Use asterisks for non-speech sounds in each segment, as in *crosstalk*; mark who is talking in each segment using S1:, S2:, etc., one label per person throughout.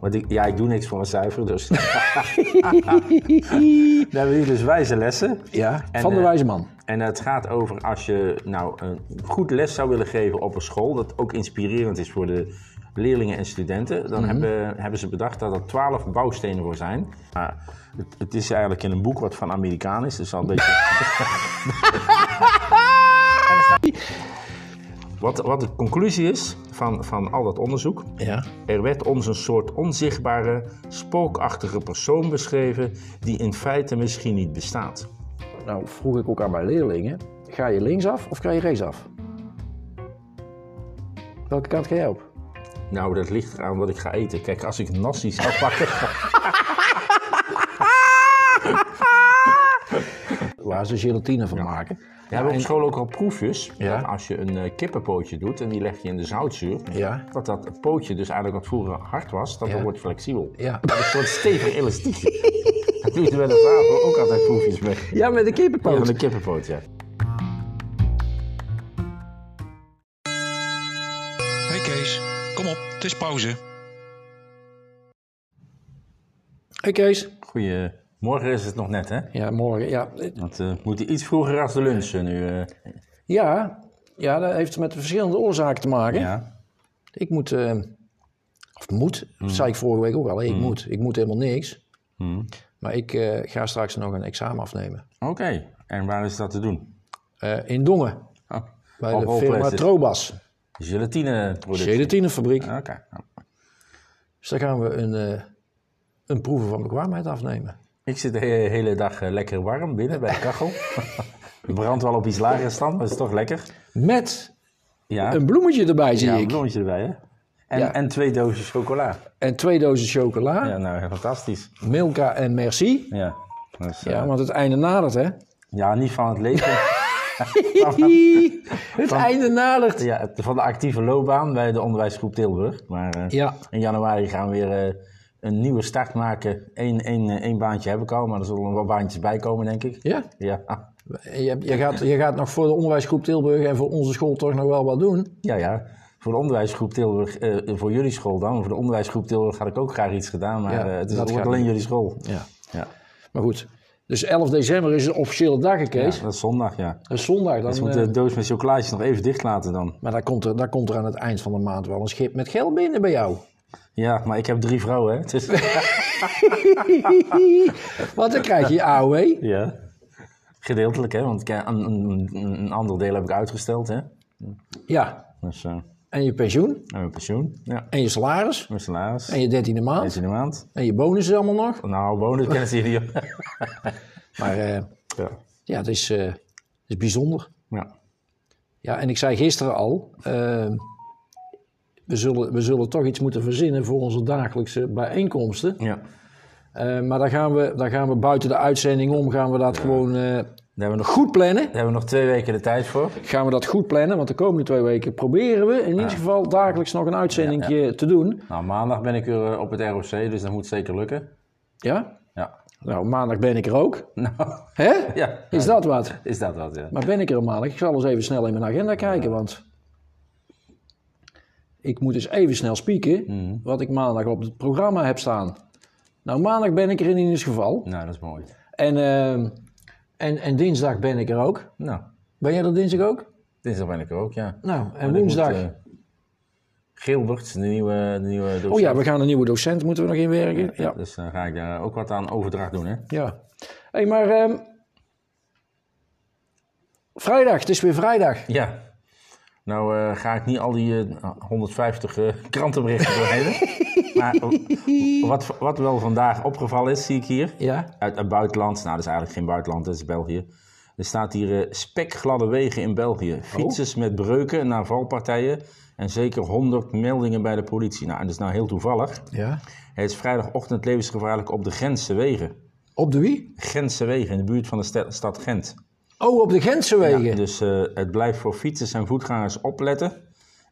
S1: Want ik, ja, ik doe niks voor mijn cijfer, dus... Dan hebben we dus wijze lessen.
S2: Ja,
S1: En,
S2: van de
S1: eh,
S2: wijze man.
S1: En het gaat over als je nou een goed les zou willen geven op een school, dat ook inspirerend is voor de leerlingen en studenten, dan hebben, hebben ze bedacht dat er twaalf bouwstenen voor zijn. Maar het, het is eigenlijk in een boek wat van Amerikaan is, dus al een beetje. En er staat- Wat, wat de conclusie is van, van al dat onderzoek,
S2: Ja.
S1: er werd ons een soort onzichtbare, spookachtige persoon beschreven die in feite misschien niet bestaat.
S2: Nou vroeg ik ook aan mijn leerlingen, ga je linksaf of ga je rechtsaf? Welke kant ga jij op?
S1: Nou, dat ligt eraan wat ik ga eten. Kijk, als ik een nasi zou
S2: *laughs*
S1: pakken...
S2: Waar ze gelatine van maken.
S1: We hebben op school ook al proefjes.
S2: Ja.
S1: Dat als je een eh, kippenpootje doet en die leg je in de zoutzuur...
S2: Ja.
S1: dat dat pootje dus eigenlijk wat vroeger hard was, dat
S2: Ja.
S1: dat wordt flexibel.
S2: Ja.
S1: Dat is een soort stevig elastiekje. *laughs* Daar doen ze bij de vader ook altijd proefjes mee.
S2: *laughs* Ja, met de
S1: Ja,
S2: kippenpoot.
S1: Van een kippenpoot, ja.
S3: Hey Kees, kom op, het is pauze.
S2: Hey Kees.
S1: Goedemorgen is het nog net, hè?
S2: Ja, morgen. Ja,
S1: Want eh, we moeten iets vroeger als de lunch eh, nu. eh.
S2: ja, ja dat heeft met verschillende oorzaken te maken.
S1: ja.
S2: Ik moet, eh, of moet, dat zei
S1: Mm.
S2: ik vorige week ook al, ik moet. Ik moet helemaal niks. Maar ik eh, ga straks nog een examen afnemen.
S1: Oké. En waar is dat te doen?
S2: Eh, in Dongen,
S1: Oh.
S2: bij
S1: Op
S2: de firma
S1: Holplaces.
S2: Trobas.
S1: Gelatineproduct.
S2: Gelatinefabriek.
S1: Oké.
S2: Dus daar gaan we een, eh, een proeven van bekwaamheid afnemen.
S1: Ik zit de he- hele dag eh, lekker warm binnen bij de kachel. Het brandt wel op iets lagere stand, maar het is toch lekker.
S2: Met
S1: Ja,
S2: een bloemetje erbij, zie
S1: ja, een
S2: ik.
S1: bloemetje erbij, hè? En,
S2: Ja.
S1: en twee dozen chocola.
S2: En twee dozen chocola,
S1: Ja, nou, fantastisch.
S2: Milka en Merci.
S1: Ja, dus, eh,
S2: Ja,
S1: ja.
S2: want het einde nadert, hè?
S1: *laughs*
S2: *laughs*
S1: niet van het leven. *laughs*
S2: het einde nadert.
S1: ja, het- van de actieve loopbaan bij de onderwijsgroep Tilburg. Maar eh,
S2: Ja.
S1: in januari gaan we weer eh, een nieuwe start maken. Eén één, eh, één baantje heb ik al, maar er zullen nog wel baantjes bij komen, denk ik.
S2: Ja,
S1: Ja,
S2: je, je, gaat, je gaat nog voor de onderwijsgroep Tilburg en voor onze school toch nog wel wat doen.
S1: Ja, ja. Voor de onderwijsgroep Tilburg, eh, voor jullie school dan. Voor de onderwijsgroep Tilburg had ik ook graag iets gedaan, maar
S2: Ja,
S1: eh, het is het
S2: dat
S1: wordt
S2: gaat
S1: alleen
S2: niet.
S1: jullie school.
S2: Ja.
S1: Ja.
S2: Maar goed, dus 11 december is de officiële dag, hè,
S1: Ja,
S2: Kees.
S1: dat is zondag, ja.
S2: Dat is zondag. Dan,
S1: Dus we
S2: eh,
S1: moeten de doos met chocolaatjes nog even dicht laten dan.
S2: maar dan komt, er, dan komt er aan het eind van de maand wel een schip met geld binnen bij *laughs* jou.
S1: Ja, maar ik heb drie vrouwen, hè. Dus,
S2: Want dan krijg je je AOW.
S1: *laughs* ja. Gedeeltelijk, hè, want ik- eh, een, een, een ander deel heb ik uitgesteld, hè.
S2: Ja,
S1: Dus, eh
S2: en je pensioen.
S1: en mijn pensioen, ja.
S2: En je salaris.
S1: Mijn salaris,
S2: En je dertiende maand.
S1: deze in de maand.
S2: En je bonus is allemaal nog.
S1: Nou, bonuskennis hier. joh.
S2: Maar eh,
S1: *laughs* ja.
S2: ja, het is, eh, het is bijzonder.
S1: ja.
S2: Ja, en ik zei gisteren al, eh, we, zullen, we zullen toch iets moeten verzinnen voor onze dagelijkse bijeenkomsten.
S1: Ja.
S2: Eh, maar dan gaan, we, dan gaan we buiten de uitzending om, gaan we dat gewoon eh,
S1: Daar hebben, we nog,
S2: goed plannen.
S1: daar hebben we nog twee weken de tijd voor.
S2: Gaan we dat goed plannen, want de komende twee weken proberen we in ieder geval dagelijks nog een uitzending te doen.
S1: Nou, maandag ben ik weer eh, op het ROC, dus dat moet zeker lukken.
S2: Ja?
S1: Ja. *laughs*
S2: Nou, maandag ben ik er ook.
S1: Nou,
S2: Hè?
S1: ja.
S2: Is dat wat?
S1: Is dat wat, ja.
S2: Maar ben ik er een maandag? Ik zal eens even snel in mijn agenda kijken, want ik moet eens even snel spieken
S1: Mhm.
S2: wat ik maandag op het programma heb staan. Nou, maandag ben ik er in ieder geval.
S1: Nou, dat is mooi.
S2: En, ehm, en, en dinsdag ben ik er ook.
S1: Nou,
S2: Ben jij er dinsdag ook?
S1: dinsdag ben ik er ook, ja.
S2: Nou, en
S1: Maar ik
S2: woensdag.
S1: moet, eh, Gilbert, de nieuwe, de nieuwe docent.
S2: oh ja, we gaan een nieuwe docent moeten we nog inwerken. Ja.
S1: Dus dan ga ik daar ook wat aan overdracht doen, hè.
S2: ja. Hé, hey, maar ehm, vrijdag, het is weer vrijdag.
S1: Ja. Nou eh, ga ik niet al die eh, 150 eh, krantenberichten
S2: *laughs*
S1: doorheen. maar eh, wat, wat wel vandaag opgevallen is, zie ik hier.
S2: Ja.
S1: Uit het buitenland. Nou, dat is eigenlijk geen buitenland, dat is België. Er staat hier eh spekgladde wegen in
S2: Oh.
S1: België. Fietsers met breuken na valpartijen. En zeker 100 meldingen bij de politie. Nou, en dat is nou heel toevallig.
S2: Ja.
S1: Het is vrijdagochtend levensgevaarlijk op de Gentse wegen.
S2: Op de wie?
S1: Gentse wegen, in de buurt van de ste- stad Gent.
S2: Oh, op de Gentse
S1: Ja,
S2: wegen.
S1: dus eh, het blijft voor fietsers en voetgangers opletten.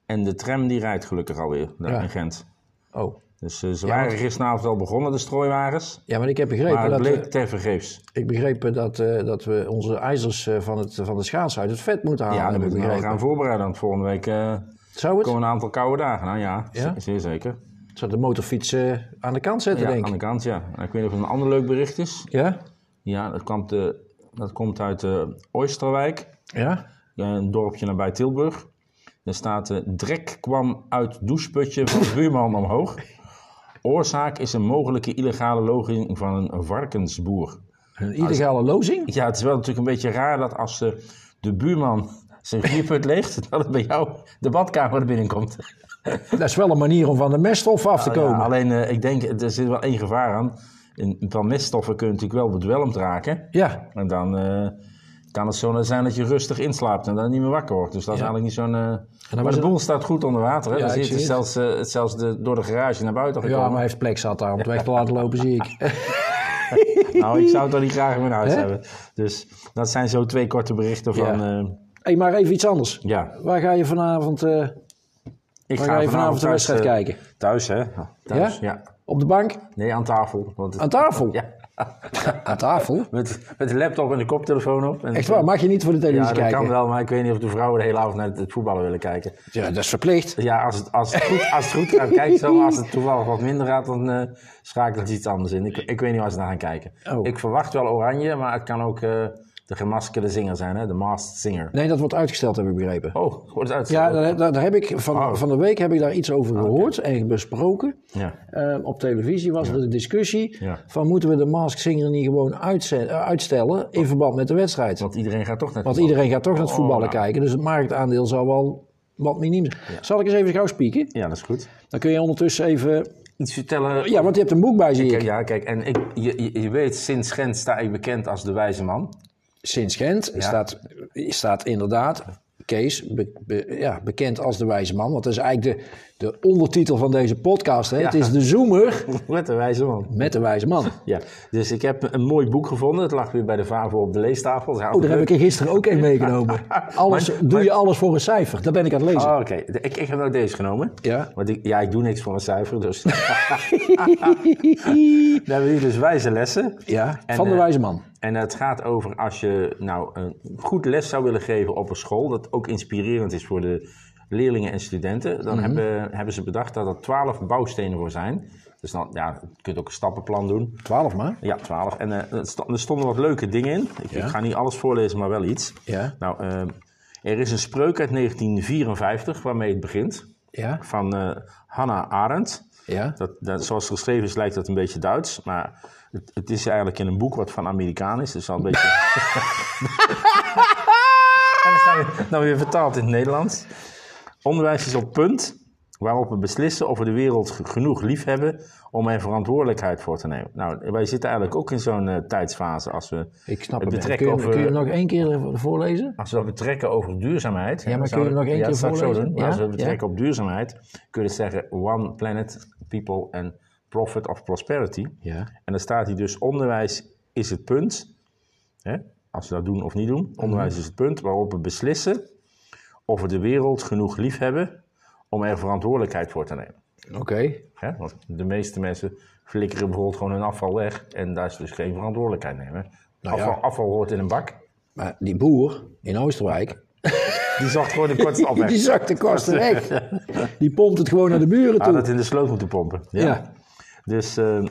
S1: En de tram die rijdt gelukkig alweer daar
S2: Ja.
S1: in Gent.
S2: Oh.
S1: Dus eh, ze waren gisteravond al begonnen, de strooiwagens.
S2: Ja, maar ik heb begrepen
S1: Maar het
S2: dat...
S1: bleek
S2: eh,
S1: tevergeefs.
S2: Ik begreep eh, dat, eh, dat we onze ijzers eh, van, het, van de schaats uit het vet moeten halen.
S1: Ja, daar
S2: heb Ah, ik
S1: moeten we nou
S2: begrepen.
S1: gaan voorbereiden. Want volgende week eh,
S2: Zou het?
S1: komen een aantal koude dagen. Nou ja,
S2: Ja?
S1: ze- zeer zeker.
S2: Zou de motorfiets eh, aan de kant zetten,
S1: Ja,
S2: denk
S1: aan
S2: ik.
S1: de kant, ja. En ik weet nog of een ander leuk bericht is.
S2: Ja?
S1: Ja, dat, kwam te- dat komt uit eh Oosterwijk,
S2: Ja?
S1: een dorpje nabij Tilburg. Daar staat, eh, drek kwam uit doucheputje van de buurman omhoog. Oorzaak is een mogelijke illegale loging van een varkensboer.
S2: Een illegale
S1: *laughs*
S2: lozing?
S1: Ja, het is wel natuurlijk een beetje raar dat als eh, de buurman zijn vierpunt leegt, *laughs* dat het bij jou de badkamer er binnenkomt.
S2: Dat is wel een manier om van de meststof af te komen.
S1: Ja, alleen, eh, ik denk, er zit wel één gevaar aan. En van meststoffen kun je natuurlijk wel bedwelmd raken.
S2: Ja,
S1: En dan eh, kan het zo zijn dat je rustig inslaapt en dan niet meer wakker wordt. Dus dat is
S2: Ja.
S1: eigenlijk niet zo'n... eh, Maar
S2: was
S1: de
S2: het-
S1: boel staat goed onder water. Hè?
S2: Ja,
S1: dan zie
S2: ik
S1: je het
S2: zie het.
S1: zelfs, eh, het zelfs de, door de garage naar buiten
S2: ja
S1: gekomen.
S2: maar hij heeft plek zat daar om het weg te laten lopen, zie
S1: *laughs*
S2: ik.
S1: Nou, ik zou het dan niet graag in mijn huis
S2: Hè?
S1: hebben. Dus dat zijn zo twee korte berichten van...
S2: Ja.
S1: eh,
S2: hey, maar even iets anders.
S1: ja.
S2: Waar ga je vanavond, eh,
S1: Ik
S2: waar ga je vanavond de
S1: thuis,
S2: wedstrijd
S1: eh,
S2: kijken?
S1: Thuis, hè? Thuis,
S2: Ja?
S1: ja?
S2: Op de bank?
S1: Nee, aan tafel. Want
S2: Aan tafel?
S1: Ja,
S2: Aan tafel?
S1: met, met de laptop en de koptelefoon op. En
S2: Echt waar, mag je niet voor de
S1: Ja,
S2: televisie
S1: dat
S2: kijken?
S1: kan wel, maar ik weet niet of de vrouwen de hele avond naar het voetballen willen kijken.
S2: Ja, dat is verplicht.
S1: Ja, als het, als het, goed, als het goed gaat, kijk zo. Maar Als het toevallig wat minder gaat, dan eh schakelt het iets anders in. Ik, ik weet niet waar ze naar gaan kijken.
S2: Oh.
S1: Ik verwacht wel oranje, maar het kan ook eh, de gemaskerde zinger zijn, hè? de masked singer.
S2: Nee, dat wordt uitgesteld, heb ik begrepen.
S1: Oh, wordt het
S2: Ja,
S1: uitgesteld?
S2: daar, daar- daar heb ik van,
S1: Oh.
S2: van de week heb ik daar iets over gehoord en besproken.
S1: Ja.
S2: Eh, op televisie was er de discussie
S1: Ja.
S2: van moeten we de Mask Singer niet gewoon uitze- eh, uitstellen in verband met de wedstrijd.
S1: Want iedereen gaat toch naar
S2: Want iedereen gaat toch naar
S1: Oh,
S2: het voetballen kijken, dus het marktaandeel zal wel wat miniem zijn. Zal ik eens even gauw spieken?
S1: Ja, dat is goed.
S2: Dan kun je ondertussen even...
S1: Iets vertellen
S2: Oh, Ja, want je hebt een boek bij, zie
S1: Kijk,
S2: ik.
S1: ja, kijk, en ik, je, je- je weet, sinds Gent sta ik bekend als de wijze man. *laughs*
S2: Sinds Gent staat, staat inderdaad Kees be- be- ja, bekend als de wijze man. Want dat is eigenlijk de, de ondertitel van deze podcast. Hè? Het is de zoomer
S1: Met de wijze man.
S2: met de wijze man.
S1: Ja, dus ik heb een mooi boek gevonden. Het lag weer bij de VAVO op de leestafel.
S2: Oh, daar heb ik er gisteren ook een meegenomen. Alles,
S1: Maar-
S2: doe je alles voor een cijfer? Daar ben ik aan het lezen.
S1: Oh, oké. De- Ik, ik heb ook deze genomen.
S2: Ja.
S1: Want ik, ja, ik doe niks voor een cijfer, dus... *laughs* Dan
S2: *laughs*
S1: hebben we hier dus wijze lessen.
S2: ja,
S1: En,
S2: van de
S1: eh,
S2: wijze man.
S1: En het gaat over als je nou een goed les zou willen geven op een school, dat ook inspirerend is voor de leerlingen en studenten,
S2: Mhm.
S1: dan hebben, hebben ze bedacht dat er twaalf bouwstenen voor zijn. Dus dan, ja, je kunt ook een stappenplan doen.
S2: Twaalf maar.
S1: Ja, 12. En eh, er sto- er stonden wat leuke dingen in. Ik, ik ga niet alles voorlezen, maar wel iets.
S2: Ja.
S1: Nou, eh, er is een spreuk uit 1954 waarmee het begint.
S2: Ja,
S1: Van eh, Hannah Arendt.
S2: ja.
S1: Dat, dat, zoals het geschreven is, lijkt dat een beetje Duits. Maar het, het is eigenlijk in een boek wat van Amerikaan is. Dus al een beetje. en dan staan we dan weer vertaald in het Nederlands. Onderwijs is op punt waarop we beslissen of we de wereld ge- genoeg lief hebben om er verantwoordelijkheid voor te nemen. Nou, wij zitten eigenlijk ook in zo'n eh, tijdsfase als we,
S2: Ik snap
S1: het
S2: het.
S1: betrekt
S2: Kun je, hem-
S1: over-
S2: kun je hem nog één keer voorlezen?
S1: als we dat betrekken over duurzaamheid. dan
S2: maar kun je
S1: zouden-
S2: nog één
S1: ja,
S2: keer
S1: dat zou ik zo
S2: voorlezen?
S1: doen. Maar
S2: Ja?
S1: Als we het betrekken op duurzaamheid, kun je dus zeggen one planet, people and profit of prosperity.
S2: Ja.
S1: En dan staat hier dus: onderwijs is het punt. Hè? Als we dat doen of niet doen. Onderwijs
S2: Mhm.
S1: is het punt waarop we beslissen of we de wereld genoeg lief hebben om er verantwoordelijkheid voor te nemen.
S2: Oké.
S1: Hè? Want de meeste mensen flikkeren bijvoorbeeld gewoon hun afval weg en daar is dus geen verantwoordelijkheid nemen.
S2: Nou ja.
S1: afval, afval hoort in een bak.
S2: Maar die boer in Oosterwijk,
S1: Die zocht gewoon de *laughs* kortste afweg.
S2: die zakt de kosten weg. Die pompt het gewoon naar de buren
S1: Had
S2: toe.
S1: het in de sloot moeten pompen. Ja.
S2: Ja.
S1: Dus eh,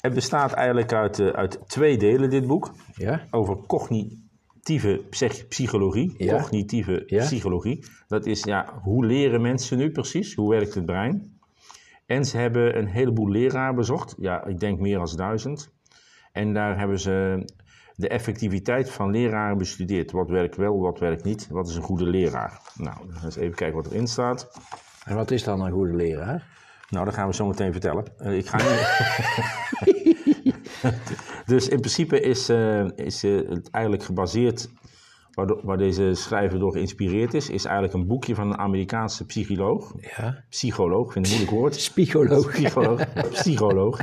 S1: het bestaat eigenlijk uit, eh, uit twee delen, dit boek.
S2: Ja.
S1: over cognitieve psych- psychologie.
S2: Ja.
S1: Cognitieve
S2: Ja.
S1: psychologie. Dat is, ja, hoe leren mensen nu precies? Hoe werkt het brein? En ze hebben een heleboel leraar bezocht. Ja, ik denk meer dan duizend. En daar hebben ze de effectiviteit van leraren bestudeerd. Wat werkt wel, wat werkt niet. Wat is een goede leraar? Nou, eens even kijken wat erin staat.
S2: En wat is dan een goede leraar?
S1: Nou, dat gaan we zo meteen vertellen. Eh, ik ga niet... *laughs* dus in principe is, eh, is eh, het eigenlijk gebaseerd... Waar, waar deze schrijver door geïnspireerd is... is eigenlijk een boekje van een Amerikaanse psycholoog.
S2: Ja.
S1: Psycholoog, vind ik een moeilijk woord.
S2: Psycholoog.
S1: Psycholoog. psycholoog.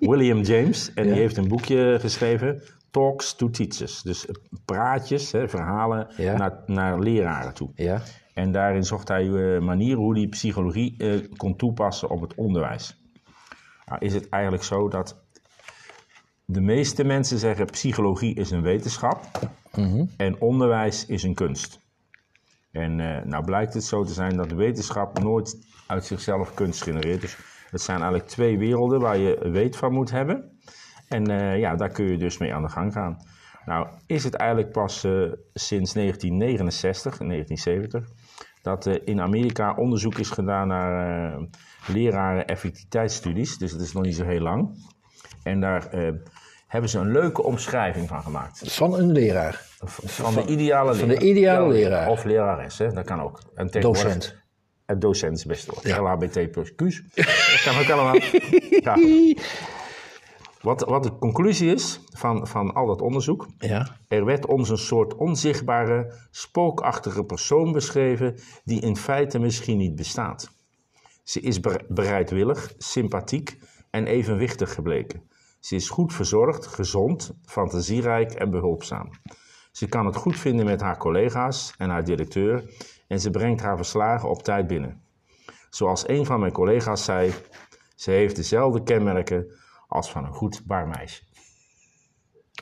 S1: William James. En die heeft een boekje geschreven... Talks to Teachers. Dus praatjes, hè, verhalen
S2: Ja.
S1: naar, naar leraren toe.
S2: Ja.
S1: En daarin zocht hij eh, manieren hoe hij psychologie eh, kon toepassen op het onderwijs. Nou, is het eigenlijk zo dat de meeste mensen zeggen psychologie is een wetenschap en onderwijs is een kunst. En eh, nou blijkt het zo te zijn dat de wetenschap nooit uit zichzelf kunst genereert. Dus het zijn eigenlijk twee werelden waar je weet van moet hebben. En eh, ja, daar kun je dus mee aan de gang gaan. Nou, is het eigenlijk pas eh, sinds 1969, 1970, dat eh, in Amerika onderzoek is gedaan naar eh, leraren effectiviteitsstudies. Dus het is nog niet zo heel lang. En daar eh, hebben ze een leuke omschrijving van gemaakt.
S2: Van een leraar.
S1: Van, de ideale
S2: van
S1: leraar.
S2: de ideale leraar.
S1: Of lerares, hè? dat kan ook. En tegenwoordig-
S2: Docent.
S1: En docent is best wel.
S2: Ja.
S1: LHBT plus
S2: *laughs*
S1: Q's. dat kan ook allemaal. Ja. Wat, wat de conclusie is van, van al dat onderzoek.
S2: Ja.
S1: Er werd ons een soort onzichtbare, spookachtige persoon beschreven die in feite misschien niet bestaat. Ze is bere- bereidwillig, sympathiek en evenwichtig gebleken. Ze is goed verzorgd, gezond, fantasierijk en behulpzaam. Ze kan het goed vinden met haar collega's en haar directeur en ze brengt haar verslagen op tijd binnen. Zoals een van mijn collega's zei, ze heeft dezelfde kenmerken als van een goed barmeisje.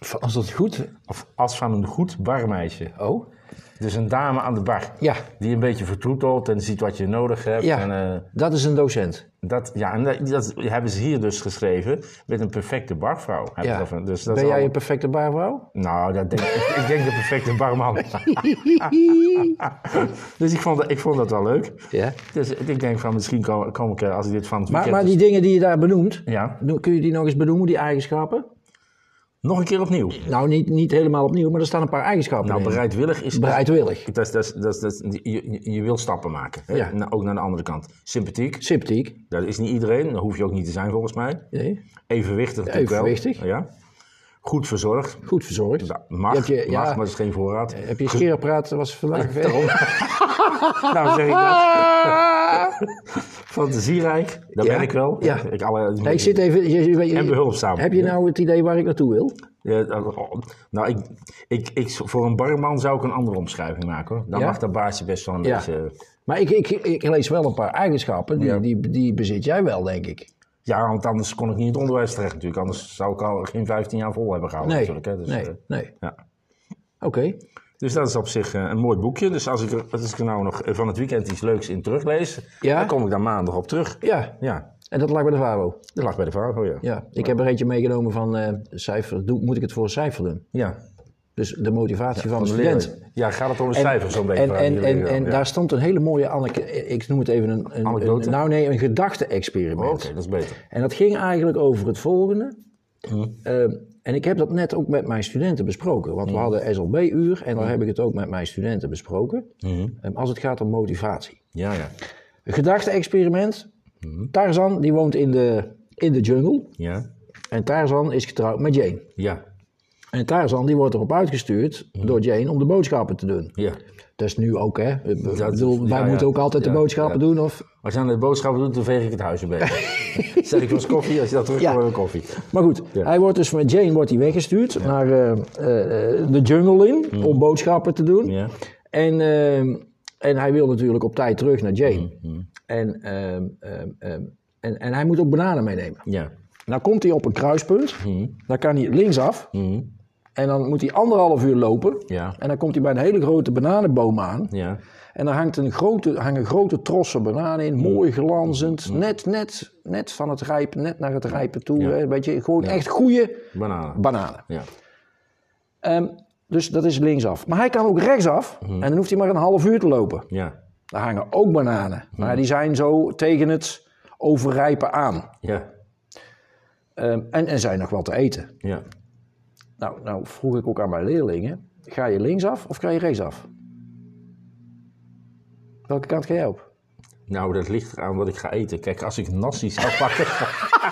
S2: Van- Als dat goed.
S1: Of als van een goed barmeisje.
S2: Oh.
S1: Dus een dame aan de bar.
S2: Ja.
S1: Die een beetje vertroetelt en ziet wat je nodig hebt.
S2: Ja.
S1: En, eh,
S2: Dat is een docent.
S1: dat, ja, en dat, dat hebben ze hier dus geschreven met een perfecte barvrouw. Hebben ze
S2: Ja.
S1: ervan. Dus dat
S2: ben
S1: is al-
S2: jij een perfecte
S1: *laughs*
S2: barvrouw?
S1: Nou, dat denk, ik, ik denk de perfecte
S2: *laughs*
S1: barman. dus ik vond, dat- ik vond dat wel leuk.
S2: Ja.
S1: Dus ik denk van misschien kom, kom ik, eh, als ik dit van het
S2: Maar,
S1: weekend- dus-
S2: maar die dingen die je daar benoemt,
S1: Ja,
S2: no- kun je die nog eens benoemen, die eigenschappen?
S1: nog een keer opnieuw.
S2: Nou, niet, niet helemaal opnieuw, maar er staan een paar eigenschappen
S1: Nou,
S2: in.
S1: bereidwillig is...
S2: Bereidwillig.
S1: Dat, is- dat, is- dat, is- dat, is- je, je- je wil stappen maken. hè?
S2: Ja.
S1: Nou, ook naar de andere kant. Sympathiek.
S2: Sympathiek.
S1: Dat is niet iedereen, dat hoef je ook niet te zijn volgens mij.
S2: Nee.
S1: Evenwichtig natuurlijk wel.
S2: Evenwichtig.
S1: Ja. Goed verzorgd.
S2: Goed verzorgd.
S1: Ja, Mag,
S2: Je hebt je-
S1: mag,
S2: ja.
S1: maar dat is geen voorraad.
S2: Heb je scheerapparaat, was vandaag veel.
S1: Nou zeg ik dat.
S2: *laughs*
S1: Fantasierijk, dat
S2: Ja.
S1: ben ik wel.
S2: Ja.
S1: Ik, alle,
S2: Nee, ik zit even... je- je- je-
S1: En behulpzaam.
S2: Heb je nou het idee waar ik naartoe wil?
S1: Ja, dat- oh, nou, ik, ik, ik, voor een barman zou ik een andere omschrijving maken hoor. Dan
S2: Ja?
S1: mag dat baasje best wel een
S2: Ja.
S1: beetje...
S2: Maar ik, ik, ik lees wel een paar eigenschappen, die,
S1: Ja.
S2: die, die bezit jij wel, denk ik.
S1: Ja, want anders kon ik niet in het onderwijs terecht natuurlijk. Anders zou ik al geen 15 jaar vol hebben gehouden
S2: Nee,
S1: natuurlijk. Hè. Dus,
S2: nee,
S1: eh,
S2: nee.
S1: ja.
S2: Oké.
S1: Dus dat is op zich eh, een mooi boekje. Dus als ik, er, als ik er nou nog eh, van het weekend iets leuks in teruglees,
S2: Ja?
S1: dan kom ik daar maandag op terug.
S2: Ja,
S1: Ja,
S2: en dat lag bij de VARO.
S1: dat lag bij de vrouw, oh ja.
S2: Ja, ik heb er eentje meegenomen van eh, cijfer, doe- moet ik het voor een cijfer doen?
S1: Ja,
S2: Dus de motivatie van de
S1: als
S2: student.
S1: leerling. Ja, gaat het om de cijfers zo'n beetje?
S2: En,
S1: waar
S2: en,
S1: jullie
S2: en,
S1: dan,
S2: en
S1: ja.
S2: daar stond een hele mooie, aneke- ik noem het even een, een,
S1: Anekdote?
S2: een- nou nee, een
S1: Oh,
S2: gedachte-experiment.
S1: Oké, dat is beter.
S2: En dat ging eigenlijk over het volgende.
S1: Hm.
S2: Eh, en ik heb dat net ook met mijn studenten besproken.
S1: Hm.
S2: Want we hadden SLB-uur en daar heb ik het ook met mijn studenten besproken.
S1: Hm.
S2: Eh, als het gaat om motivatie.
S1: Ja, ja.
S2: Een gedachte-experiment.
S1: Hm.
S2: Tarzan die woont in de, in de jungle.
S1: Ja,
S2: En Tarzan is getrouwd met Jane.
S1: ja,
S2: En Tarzan die wordt erop uitgestuurd door Jane om de boodschappen te doen.
S1: Mhm. ja.
S2: Dat is nu ook, hè? Ik
S1: Dat is-
S2: bedoel, wij
S1: ja, ja.
S2: moeten ook altijd
S1: Ja,
S2: de boodschappen
S1: ja.
S2: doen. Of...
S1: Als je aan de boodschappen doet, dan veeg ik het huis een beetje.
S2: *laughs*
S1: Zet ik was koffie, als je dat terugkomt,
S2: Ja.
S1: heb ik koffie.
S2: Maar goed, hij wordt dus met Jane wordt hij weggestuurd naar eh, eh, de jungle in om boodschappen te doen.
S1: Mhm. Ja.
S2: En, ehm, en hij wil natuurlijk op tijd terug naar Jane.
S1: Mhm,
S2: En, ehm, ehm, ehm, en, en hij moet ook bananen meenemen.
S1: Ja.
S2: Nou komt hij op een kruispunt,
S1: Mhm.
S2: dan kan hij linksaf en dan moet hij anderhalf uur lopen.
S1: Ja.
S2: En dan komt hij bij een hele grote bananenboom aan.
S1: Ja.
S2: En daar hangt een grote, hangen grote trossen bananen
S1: Mm.
S2: in, mooi glanzend. Net, net, net van het rijpen, net naar het rijpen toe.
S1: Ja.
S2: Hè, weet je, gewoon echt goede
S1: Bananen.
S2: bananen.
S1: ja.
S2: Ehm, dus dat is linksaf. Maar hij kan ook rechtsaf
S1: Mm.
S2: en dan hoeft hij maar een half uur te lopen.
S1: Ja.
S2: Daar hangen ook bananen,
S1: Mm.
S2: maar die zijn zo tegen het overrijpen aan.
S1: Ja.
S2: Ehm, en, en zijn nog wat te eten.
S1: Ja.
S2: Nou, nou vroeg ik ook aan mijn leerlingen, ga je linksaf of ga je rechtsaf? Welke kant ga jij op?
S1: Nou, dat ligt eraan wat ik ga eten. Kijk, als ik nasi zou pakken...
S2: *laughs*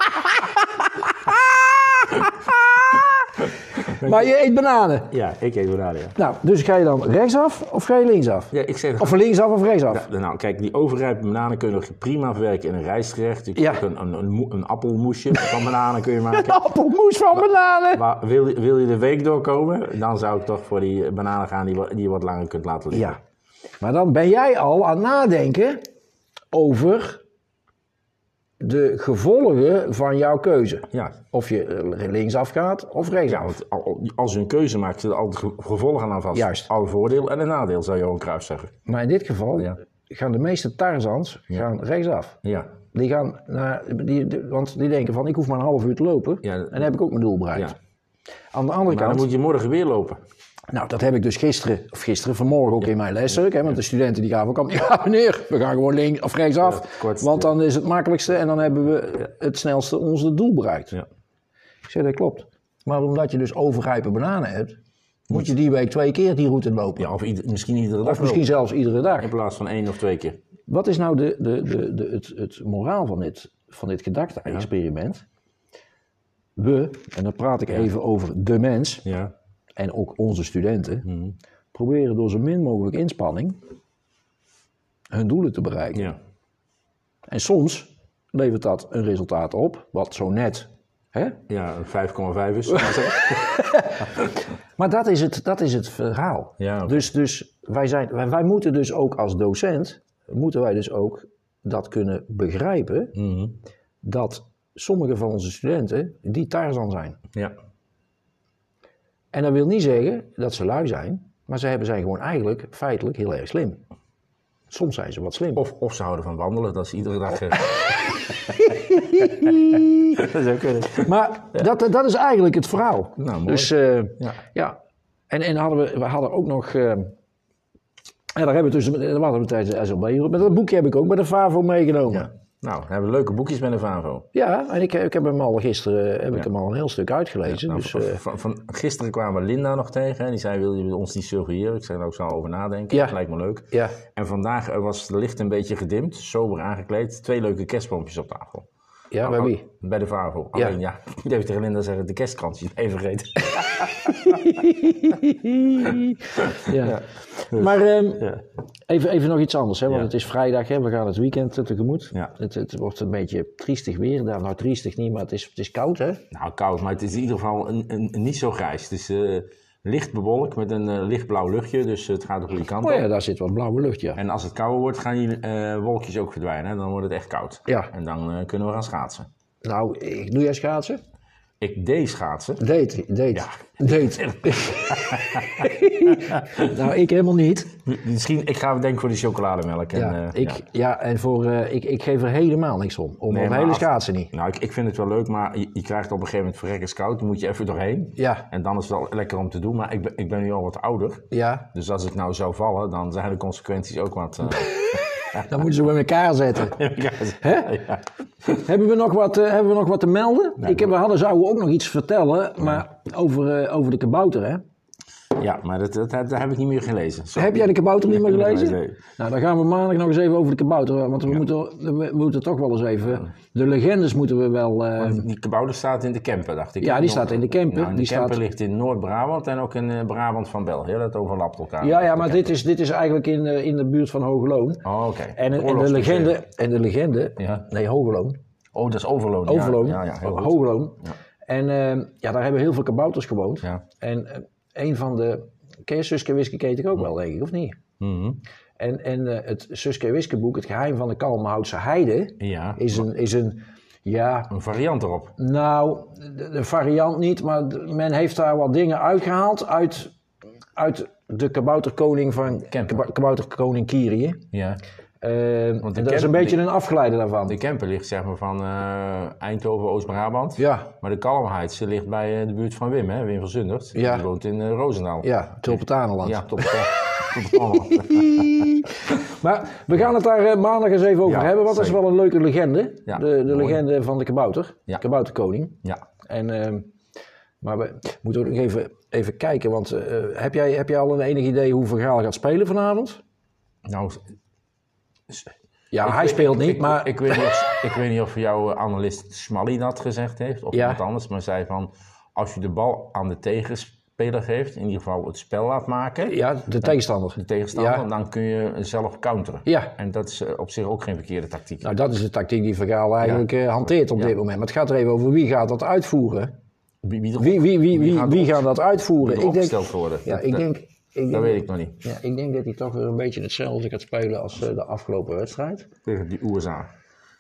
S2: Maar je eet bananen.
S1: ja, ik eet bananen, ja.
S2: Nou, dus ga je dan rechtsaf of ga je linksaf?
S1: Ja, ik zeg...
S2: Of linksaf of *laughs* rechtsaf?
S1: Nou, kijk, die overrijpe bananen kun je nog prima verwerken in een rijstgerecht. Je kunt
S2: Ja.
S1: ook een, een, een, moe- een appelmoesje van bananen kun je *laughs* maken.
S2: Appelmoes Nou, van bananen.
S1: Maar wil, je- wil je de week doorkomen, dan zou ik toch voor die bananen gaan die, wa- die je wat langer kunt laten liggen.
S2: Ja. Maar dan ben jij al aan het nadenken over de de gevolgen van jouw keuze.
S1: Ja.
S2: Of je eh, linksaf gaat of rechtsaf.
S1: Want al- als je een keuze maakt, zitten al de ge- gevolgen aan vast.
S2: Juist.
S1: Al een voordeel en een nadeel, zou Johan Cruijff zeggen.
S2: Maar in dit geval
S1: Ja.
S2: gaan de meeste Tarzans gaan rechtsaf.
S1: Ja.
S2: Die gaan naar, die, die- want die denken van, ik hoef maar een half uur te lopen
S1: Ja, dat-
S2: en dan heb ik ook mijn doel bereikt.
S1: Ja.
S2: Aan de andere
S1: Maar dan
S2: kant,
S1: moet je morgen weer lopen.
S2: nou dat heb ik dus gisteren, of gisteren vanmorgen ook in mijn lessen, hè, want de studenten die gaven ook aan, ja meneer, we gaan gewoon links of rechtsaf,
S1: Ja, kort,
S2: want
S1: ja.
S2: dan is het makkelijkste en dan hebben we het snelste onze doel bereikt.
S1: Ja.
S2: Ik zeg, dat klopt. Maar omdat je dus overrijpe bananen hebt, moet je die week twee keer die route lopen.
S1: Ja, of ieder- misschien iedere dag
S2: Of misschien
S1: lopen.
S2: zelfs iedere dag.
S1: In plaats van één of twee keer.
S2: Wat is nou de, de, de, de, het, het moraal van dit, van dit gedachte-experiment? We, en dan praat ik even over de mens
S1: Ja.
S2: en ook onze studenten,
S1: Mhm.
S2: proberen door zo min mogelijk inspanning hun doelen te bereiken.
S1: Ja.
S2: En soms levert dat een resultaat op, wat zo net. Hè?
S1: Ja, een 5,5 is. Ja.
S2: Maar dat is het, dat is het verhaal.
S1: Ja, oké.
S2: Dus, dus wij, zijn, wij, wij moeten dus ook als docent, moeten wij dus ook dat kunnen begrijpen,
S1: Mhm.
S2: dat sommige van onze studenten die Tarzan zijn.
S1: ja.
S2: En dat wil niet zeggen dat ze lui zijn, maar ze hebben zijn gewoon eigenlijk feitelijk heel erg slim. Soms zijn ze wat slim.
S1: Of, of ze houden van wandelen, dat is iedere dag.
S2: *laughs*
S1: eh, dat zou kunnen.
S2: Maar dat, dat is eigenlijk het verhaal.
S1: Nou, mooi.
S2: dus eh,
S1: Ja.
S2: ja. En, en hadden we, we hadden ook nog. eh, en daar hebben we dus. Dat hadden we tijdens de SLB. Maar dat boekje heb ik ook bij de FAVO meegenomen. Ja,
S1: Nou, dan hebben we leuke boekjes met een Vavo.
S2: en ik, ik heb hem al gisteren. eh, Heb ik hem al een heel stuk uitgelezen.
S1: Nou,
S2: dus,
S1: van-
S2: eh,
S1: van, van, gisteren kwamen we Linda nog tegen en die zei: Wil je ons niet surveilleren? Ik zei: Nou, ik zal over nadenken.
S2: Ja.
S1: Dat lijkt me leuk.
S2: ja.
S1: En vandaag eh, was het licht een beetje gedimd, sober aangekleed. Twee leuke kerstboompjes op tafel. Oh,
S2: ja,
S1: Nou,
S2: bij wie?
S1: Bij de Vavo.
S2: Ja.
S1: Alleen ja, *laughs* ik deed tegen Linda zeggen: De kerstkrantjes, even vergeten.
S2: *laughs*
S1: *laughs*
S2: ja. Maar ehm,
S1: Ja.
S2: even, even nog iets anders, hè, want
S1: Ja.
S2: het is vrijdag, hè, we gaan het weekend eh, tegemoet.
S1: Ja.
S2: Het, het wordt een beetje triestig weer, nou, nou triestig niet, maar het is, het is koud hè.
S1: Nou, koud, maar het is in ieder geval een, een, een- niet zo grijs. Het is eh, licht bewolkt met een eh, lichtblauw luchtje, dus het gaat de goede kant
S2: Oh
S1: op.
S2: ja, daar zit wat blauwe lucht, ja.
S1: En als het kouder wordt, gaan die eh, wolkjes ook verdwijnen. hè. Dan wordt het echt koud.
S2: Ja.
S1: En dan eh, kunnen we gaan schaatsen.
S2: Nou, ik, doe jij schaatsen?
S1: Ik deed schaatsen.
S2: Date, date,
S1: *laughs*
S2: date. nou, ik helemaal niet.
S1: Misschien, ik ga denken voor de chocolademelk. En,
S2: Ja,
S1: eh,
S2: ik, ja. en voor, eh, ik, ik geef er helemaal niks om, om
S1: Nee,
S2: het
S1: maar
S2: hele
S1: af-
S2: schaatsen niet.
S1: Nou, ik, ik vind het wel leuk, maar je, je krijgt op een gegeven moment verrekkers koud. Dan moet je even doorheen.
S2: Ja.
S1: En dan is het wel lekker om te doen. Maar ik ben, ik ben nu al wat ouder. *laughs*
S2: Ja,
S1: Dus als ik nou zou vallen, dan zijn de consequenties ook wat...
S2: *laughs*
S1: eh, *laughs*
S2: dan moeten ze bij elkaar zetten. Hè?
S1: ja.
S2: Hebben we nog wat, eh, hebben we nog wat te melden? ik heb, we hadden, zouden ook nog iets vertellen, maar over, eh, over de kabouter, hè?
S1: Ja, maar dat, dat, dat heb ik niet meer gelezen. Zo.
S2: Heb jij de kabouter niet meer
S1: heb ik niet
S2: gelezen?
S1: gelezen.
S2: Nou, dan gaan we maandag nog eens even over de kabouter, want we, moeten, we moeten toch wel eens even... De legendes moeten we wel... eh,
S1: Die kabouter staat in de Kempen, dacht ik.
S2: Ja, die
S1: Nog-
S2: staat in de Kempen.
S1: Nou, en de
S2: Die
S1: Kempen
S2: staat-
S1: ligt in Noord-Brabant en ook in eh, Brabant van België. Dat overlapt elkaar.
S2: ja, ja, maar dit is, dit is eigenlijk in, eh, in de buurt van Hoogloon.
S1: Oh, oké.
S2: En, en de
S1: Oorlogsmuseum.
S2: legende, en de legende,
S1: Ja.
S2: nee, Hoogloon,
S1: Oh, dat is Overloon. ja.
S2: Overloon,
S1: Ja, ja,
S2: Oh,
S1: heel goed.
S2: Hoogloon. En eh, ja, daar hebben heel veel kabouters gewoond.
S1: Ja.
S2: En eh, een van de, ken je Suske Wiske Keet
S1: Hm.
S2: ook wel, denk ik, of niet?
S1: Mhm.
S2: En, en eh, het Suske Wiske boek, Het geheim van de Kalmhoutse heide,
S1: Ja.
S2: is een, is een, ja,
S1: Een variant erop.
S2: nou, de, de variant niet, maar d- men heeft daar wat dingen uitgehaald uit, uit de kabouterkoning van,
S1: Kemper.
S2: kaba- kabouterkoning Kyrie.
S1: Ja.
S2: Eh, en dat is
S1: Kemper-
S2: een beetje een afgeleide daarvan.
S1: De Kempen ligt zeg maar van eh, Eindhoven, Oost-Brabant.
S2: ja,
S1: Maar de Kalmheid ze ligt bij eh, de buurt van Wim, hè? Wim van Zundert.
S2: Ja.
S1: Die woont in eh, Roosendaal.
S2: ja, Tulpentanenland.
S1: Ja, top. top allemaal.
S2: *laughs* Maar we gaan het daar eh, maandag eens even over
S1: Ja,
S2: hebben, want dat
S1: zeker.
S2: is wel een leuke legende.
S1: Ja,
S2: de de
S1: mooi.
S2: legende van de kabouter,
S1: Ja.
S2: kabouterkoning.
S1: ja.
S2: En, ehm, maar we moeten ook nog even, even kijken, want eh, heb, jij, heb jij al een enig idee hoe Van Gaal gaat spelen vanavond?
S1: Nou,
S2: Ja, hij speelt niet,
S1: ik,
S2: maar...
S1: ik, weet niet of, ik weet niet of jouw analist Smally dat gezegd heeft of
S2: Ja.
S1: iemand anders, maar zei van als je de bal aan de tegenspeler geeft, in ieder geval het spel laat maken,
S2: ja, de tegenstander.
S1: de tegenstander,
S2: Ja.
S1: dan kun je zelf counteren.
S2: Ja.
S1: En dat is eh, op zich ook geen verkeerde tactiek.
S2: Nou, dat is de tactiek die Van Gaal eigenlijk eh, hanteert op dit moment. Maar het gaat er even over wie gaat dat uitvoeren.
S1: Wie, wie,
S2: Wie, wie, wie, wie,
S1: gaat
S2: wie gaat dat uitvoeren?
S1: ik
S2: Ik denk,
S1: opgesteld worden.
S2: ja,
S1: dat,
S2: ik
S1: dat-
S2: denk, ik denk,
S1: dat weet ik nog niet.
S2: Ja, ik denk dat hij toch weer een beetje hetzelfde gaat spelen als eh, de afgelopen wedstrijd.
S1: Tegen die USA.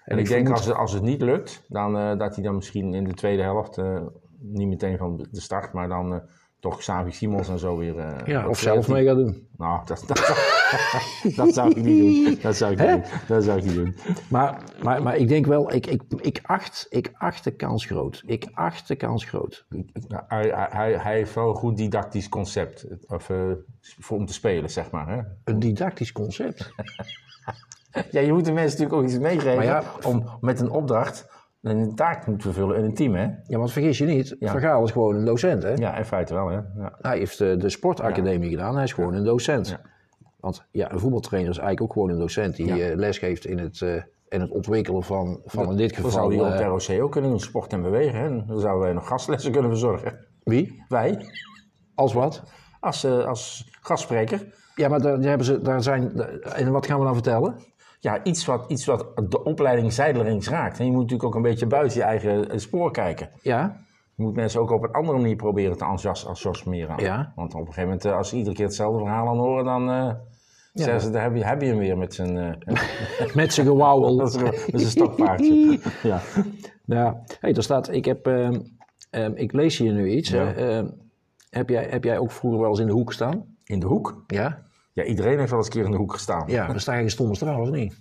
S1: En ik, denk
S2: ik vermoed-
S1: als, het- als het niet lukt, dan, eh, dat hij dan misschien in de tweede helft, eh, niet meteen van de start, maar dan eh, toch Xavi Simons en zo weer... eh,
S2: Ja,
S1: dat-
S2: of zelf mee gaan doen.
S1: Nou, dat, dat, zou, dat zou *laughs* ik niet doen. Dat zou ik niet doen. Dat zou ik niet doen.
S2: Maar, maar, maar ik denk wel, ik, ik, ik, acht, ik acht de kans groot. Ik acht de kans groot.
S1: Nou, hij, hij- hij, hij heeft wel een goed didactisch concept Het- of, eh, voor, om te spelen, zeg maar. Hè?
S2: Een didactisch *laughs* concept.
S1: Ja, je moet de mensen natuurlijk ook iets meegeven
S2: Maar ja,
S1: om met een opdracht een taak te vervullen in een team, hè?
S2: Ja, want vergis je niet, Van Gaal is gewoon een docent. Hè?
S1: Ja, in feite wel, hè? Ja.
S2: Hij heeft eh, de sportacademie gedaan, hij is gewoon een docent. Want ja, een voetbaltrainer is eigenlijk ook gewoon een docent die eh, lesgeeft in het, eh, in het ontwikkelen van, van in dit
S1: Dat zou
S2: geval...
S1: hij op
S2: eh,
S1: het ROC ook kunnen doen, sport en bewegen. Hè? Dan zouden wij nog gastlessen kunnen verzorgen.
S2: wie?
S1: Wij,
S2: Als wat?
S1: als, eh, als gastspreker.
S2: Ja, maar daar, daar hebben ze, daar zijn... daar- en wat gaan we dan vertellen?
S1: Ja, iets wat, iets wat de opleiding zijdelings raakt. En je moet natuurlijk ook een beetje buiten je eigen eh, spoor kijken.
S2: Ja,
S1: Je moet mensen ook op een andere manier proberen te enthousias- enthousiasmeren.
S2: Ja.
S1: Want op een gegeven moment, eh, als ze iedere keer hetzelfde verhaal aan horen, dan eh, zeggen ze, daar heb je, heb je hem weer met zijn,
S2: *laughs*
S1: eh,
S2: met z'n gewauwel.
S1: met zijn- met zijn
S2: *laughs*
S1: stokpaardje. ja.
S2: Ja, hey, daar staat, ik heb, ehm, ehm, ik lees hier nu iets. hè. Ehm, heb, jij, heb jij ook vroeger wel eens in de hoek gestaan?
S1: In de hoek?
S2: Ja.
S1: Ja, iedereen heeft wel eens een keer in de hoek gestaan.
S2: Ja, dan sta je stomme straal, of niet?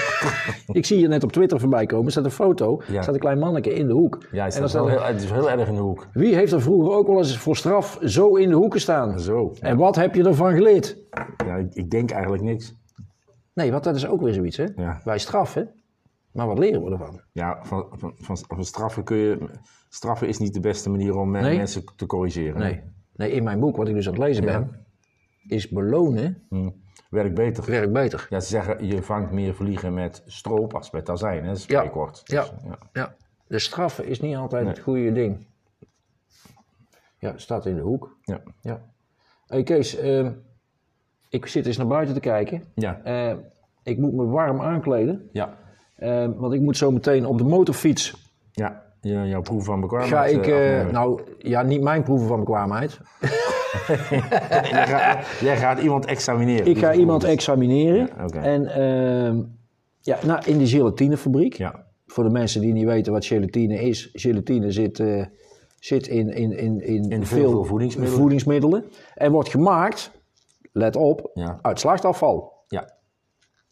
S2: *laughs* ik zie je net op Twitter voorbij komen. Er staat een foto,
S1: Ja.
S2: er staat een klein manneke in de hoek.
S1: Ja, het is,
S2: en dan staat
S1: wel
S2: er,
S1: heel, het is heel erg in de hoek.
S2: wie heeft er vroeger ook wel eens voor straf zo in de hoek gestaan?
S1: Zo.
S2: En wat heb je ervan geleerd?
S1: Ja, ik, ik denk eigenlijk niks.
S2: Nee, want dat is ook weer zoiets, hè?
S1: Ja.
S2: Wij straffen, maar wat leren we ervan?
S1: Ja, van, van, van, van straffen kun je... Straffen is niet de beste manier om eh,
S2: Nee?
S1: mensen te corrigeren.
S2: Nee. nee, in mijn boek, wat ik dus aan het lezen ben, is belonen
S1: Werk beter.
S2: werkt beter.
S1: Ja, ze zeggen, je vangt meer vliegen met stroop als met azijn, hè?
S2: Ja.
S1: Spreekwoord.
S2: Ja.
S1: Dus, ja.
S2: Ja. De straffen is niet altijd het goede ding. Ja, het staat in de hoek.
S1: Ja.
S2: Ja. Hey Kees, ehm, ik zit eens naar buiten te kijken.
S1: Ja.
S2: Eh, ik moet me warm aankleden,
S1: ja.
S2: eh, want ik moet zo meteen op de motorfiets.
S1: Ja, ja, jouw proef van bekwaamheid.
S2: Ga ik,
S1: eh,
S2: eh, *laughs*
S1: afnemen.
S2: nou ja, niet mijn proeven van bekwaamheid.
S1: jij, gaat, jij gaat iemand examineren.
S2: Ik ga iemand examineren.
S1: Ja, oké.
S2: En ehm, ja, nou, in die gelatinefabriek.
S1: Ja.
S2: Voor de mensen die niet weten wat gelatine is. Gelatine zit, eh, zit in, in, in, in,
S1: In veel voedingsmiddelen.
S2: voedingsmiddelen. En wordt gemaakt, let op,
S1: Ja.
S2: uit slachtafval.
S1: Ja,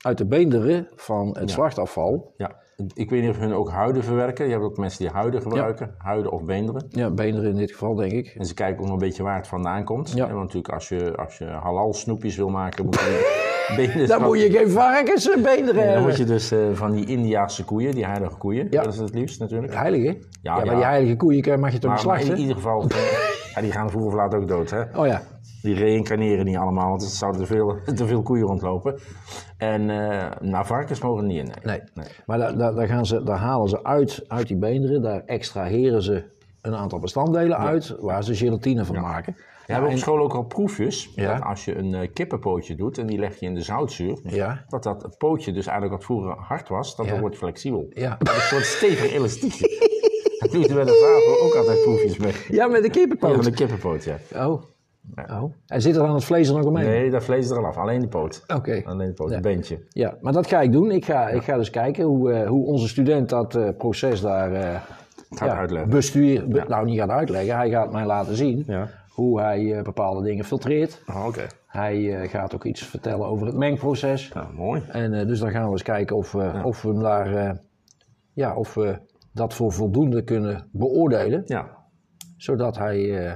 S2: Uit de beenderen van het slachtafval.
S1: ja. Ik weet niet of hun ook huiden verwerken. Je hebt ook mensen die huiden gebruiken, huiden of beenderen.
S2: Ja, beenderen in dit geval, denk ik.
S1: En ze kijken ook nog een beetje waar het vandaan komt.
S2: Ja.
S1: Hè, Want natuurlijk, als je, als je halal snoepjes wil maken, moet je
S2: *laughs*
S1: beenderen.
S2: Dan moet je geen eh, varkensbeenderen
S1: dan
S2: hebben.
S1: moet je dus eh, van die Indiaanse koeien, die heilige koeien.
S2: Ja.
S1: Dat is het liefst natuurlijk.
S2: Heilige? Ja, maar
S1: ja.
S2: die heilige koeien kan- mag je toch niet
S1: Maar, maar in
S2: slachten?
S1: ieder
S2: *laughs*
S1: geval, ja, die gaan vroeg of laat ook dood. Hè?
S2: Oh ja.
S1: Die reïncarneren niet allemaal, want er zouden te veel, *laughs* te veel koeien rondlopen. En eh nou, varkens mogen er niet in.
S2: Nee. Maar daar, daar, daar gaan ze, daar halen ze uit, uit die beenderen, daar extraheren ze een aantal bestanddelen uit waar ze gelatine van maken.
S1: We hebben op school ook al proefjes.
S2: Ja.
S1: Dat als je een eh, kippenpootje doet en die leg je in de zoutzuur.
S2: Ja.
S1: Dat dat pootje dus eigenlijk wat vroeger hard was, dat
S2: Ja.
S1: wordt flexibel.
S2: Ja.
S1: Dat is een soort stevig elastiekje. *laughs* Dat doen ze bij de VAVO ook altijd proefjes mee.
S2: Ja, met de
S1: Van
S2: kippenpoot.
S1: de kippenpoot, ja.
S2: Oh. oh. En zit er dan het vlees er nog omheen?
S1: Nee, dat vlees er al af. Alleen de poot.
S2: Oké.
S1: Alleen de poot,
S2: Ja.
S1: een beentje.
S2: Ja, maar dat ga ik doen. Ik ga, ik ga dus kijken hoe, eh, hoe onze student dat eh, proces daar eh,
S1: Gaat uitleggen.
S2: bestuur, be- nou niet gaat uitleggen. Hij gaat mij laten zien
S1: Ja.
S2: hoe hij eh, bepaalde dingen filtreert.
S1: Oh, Oké.
S2: Hij eh, gaat ook iets vertellen over het mengproces.
S1: Nou, mooi.
S2: En eh, dus dan gaan we eens kijken of, we- of we hem daar, eh, ja, of we dat voor voldoende kunnen beoordelen.
S1: Ja.
S2: Zodat hij eh,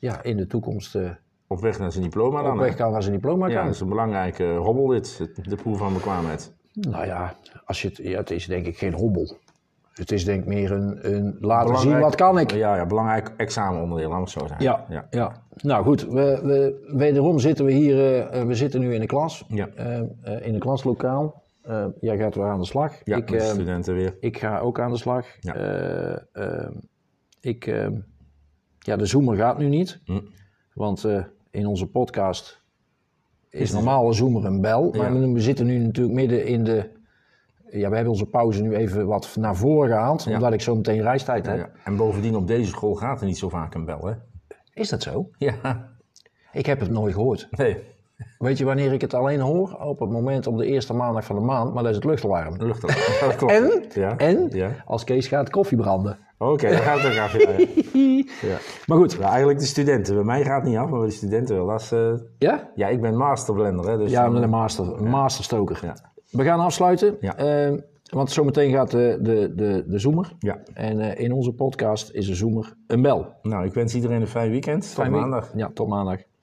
S2: ja, in de toekomst eh
S1: Op weg naar zijn diploma dan.
S2: op
S1: hè?
S2: weg kan naar zijn diploma
S1: Ja,
S2: kan.
S1: dat is een belangrijke hobbel dit. De proef van bekwaamheid.
S2: Nou ja, als je het, ja, het is denk ik geen hobbel. Het is denk ik meer een, een laten zien
S1: Belangrijk-
S2: wat kan ik.
S1: Ja, ja belangrijk examenonderdeel, laat het zo zeggen.
S2: Ja, ja.
S1: ja.
S2: nou goed, we, we, wederom zitten we hier, eh, eh, we zitten nu in de klas,
S1: Ja.
S2: Eh, eh, in een klaslokaal. Eh, jij gaat weer aan de slag.
S1: Ja,
S2: ik,
S1: met de
S2: eh,
S1: studenten weer.
S2: ik ga ook aan de slag.
S1: Ja.
S2: Eh, ehm, ik, ehm, ja, de zoomer gaat nu niet, want eh, in onze podcast is normaal een zoomer een bel, maar
S1: Ja.
S2: we, we zitten nu natuurlijk midden in de... Ja, we hebben onze pauze nu even wat naar voren gehaald, omdat ik zo meteen reistijd heb.
S1: Ja. En bovendien, op deze school gaat er niet zo vaak een bel, hè?
S2: Is dat zo?
S1: *laughs* Ja,
S2: Ik heb het nooit gehoord.
S1: nee.
S2: Weet je wanneer ik het alleen hoor? Op het moment op de eerste maandag van de maand, maar dat is het luchtalarm.
S1: Een
S2: *laughs*
S1: luchtalarm. Dat klopt.
S2: En,
S1: Ja.
S2: en
S1: Ja. Oké,
S2: als Kees gaat koffie branden. *laughs*
S1: dan gaat het ook af. Ja, ja. Ja.
S2: Maar goed,
S1: Ja, eigenlijk de studenten. Bij mij gaat het niet af, maar bij de studenten wel. Dat is, eh,
S2: ja?
S1: ja, ik ben masterblender, hè, dus
S2: Ja, met een master, een masterstoker.
S1: Ja.
S2: We gaan afsluiten,
S1: Ja.
S2: eh, want zometeen gaat de, de, de, de zoemer.
S1: Ja.
S2: En eh, in onze podcast is de zoemer een bel.
S1: Nou, ik wens iedereen een fijn weekend. Tot maandag.
S2: Ja, tot maandag.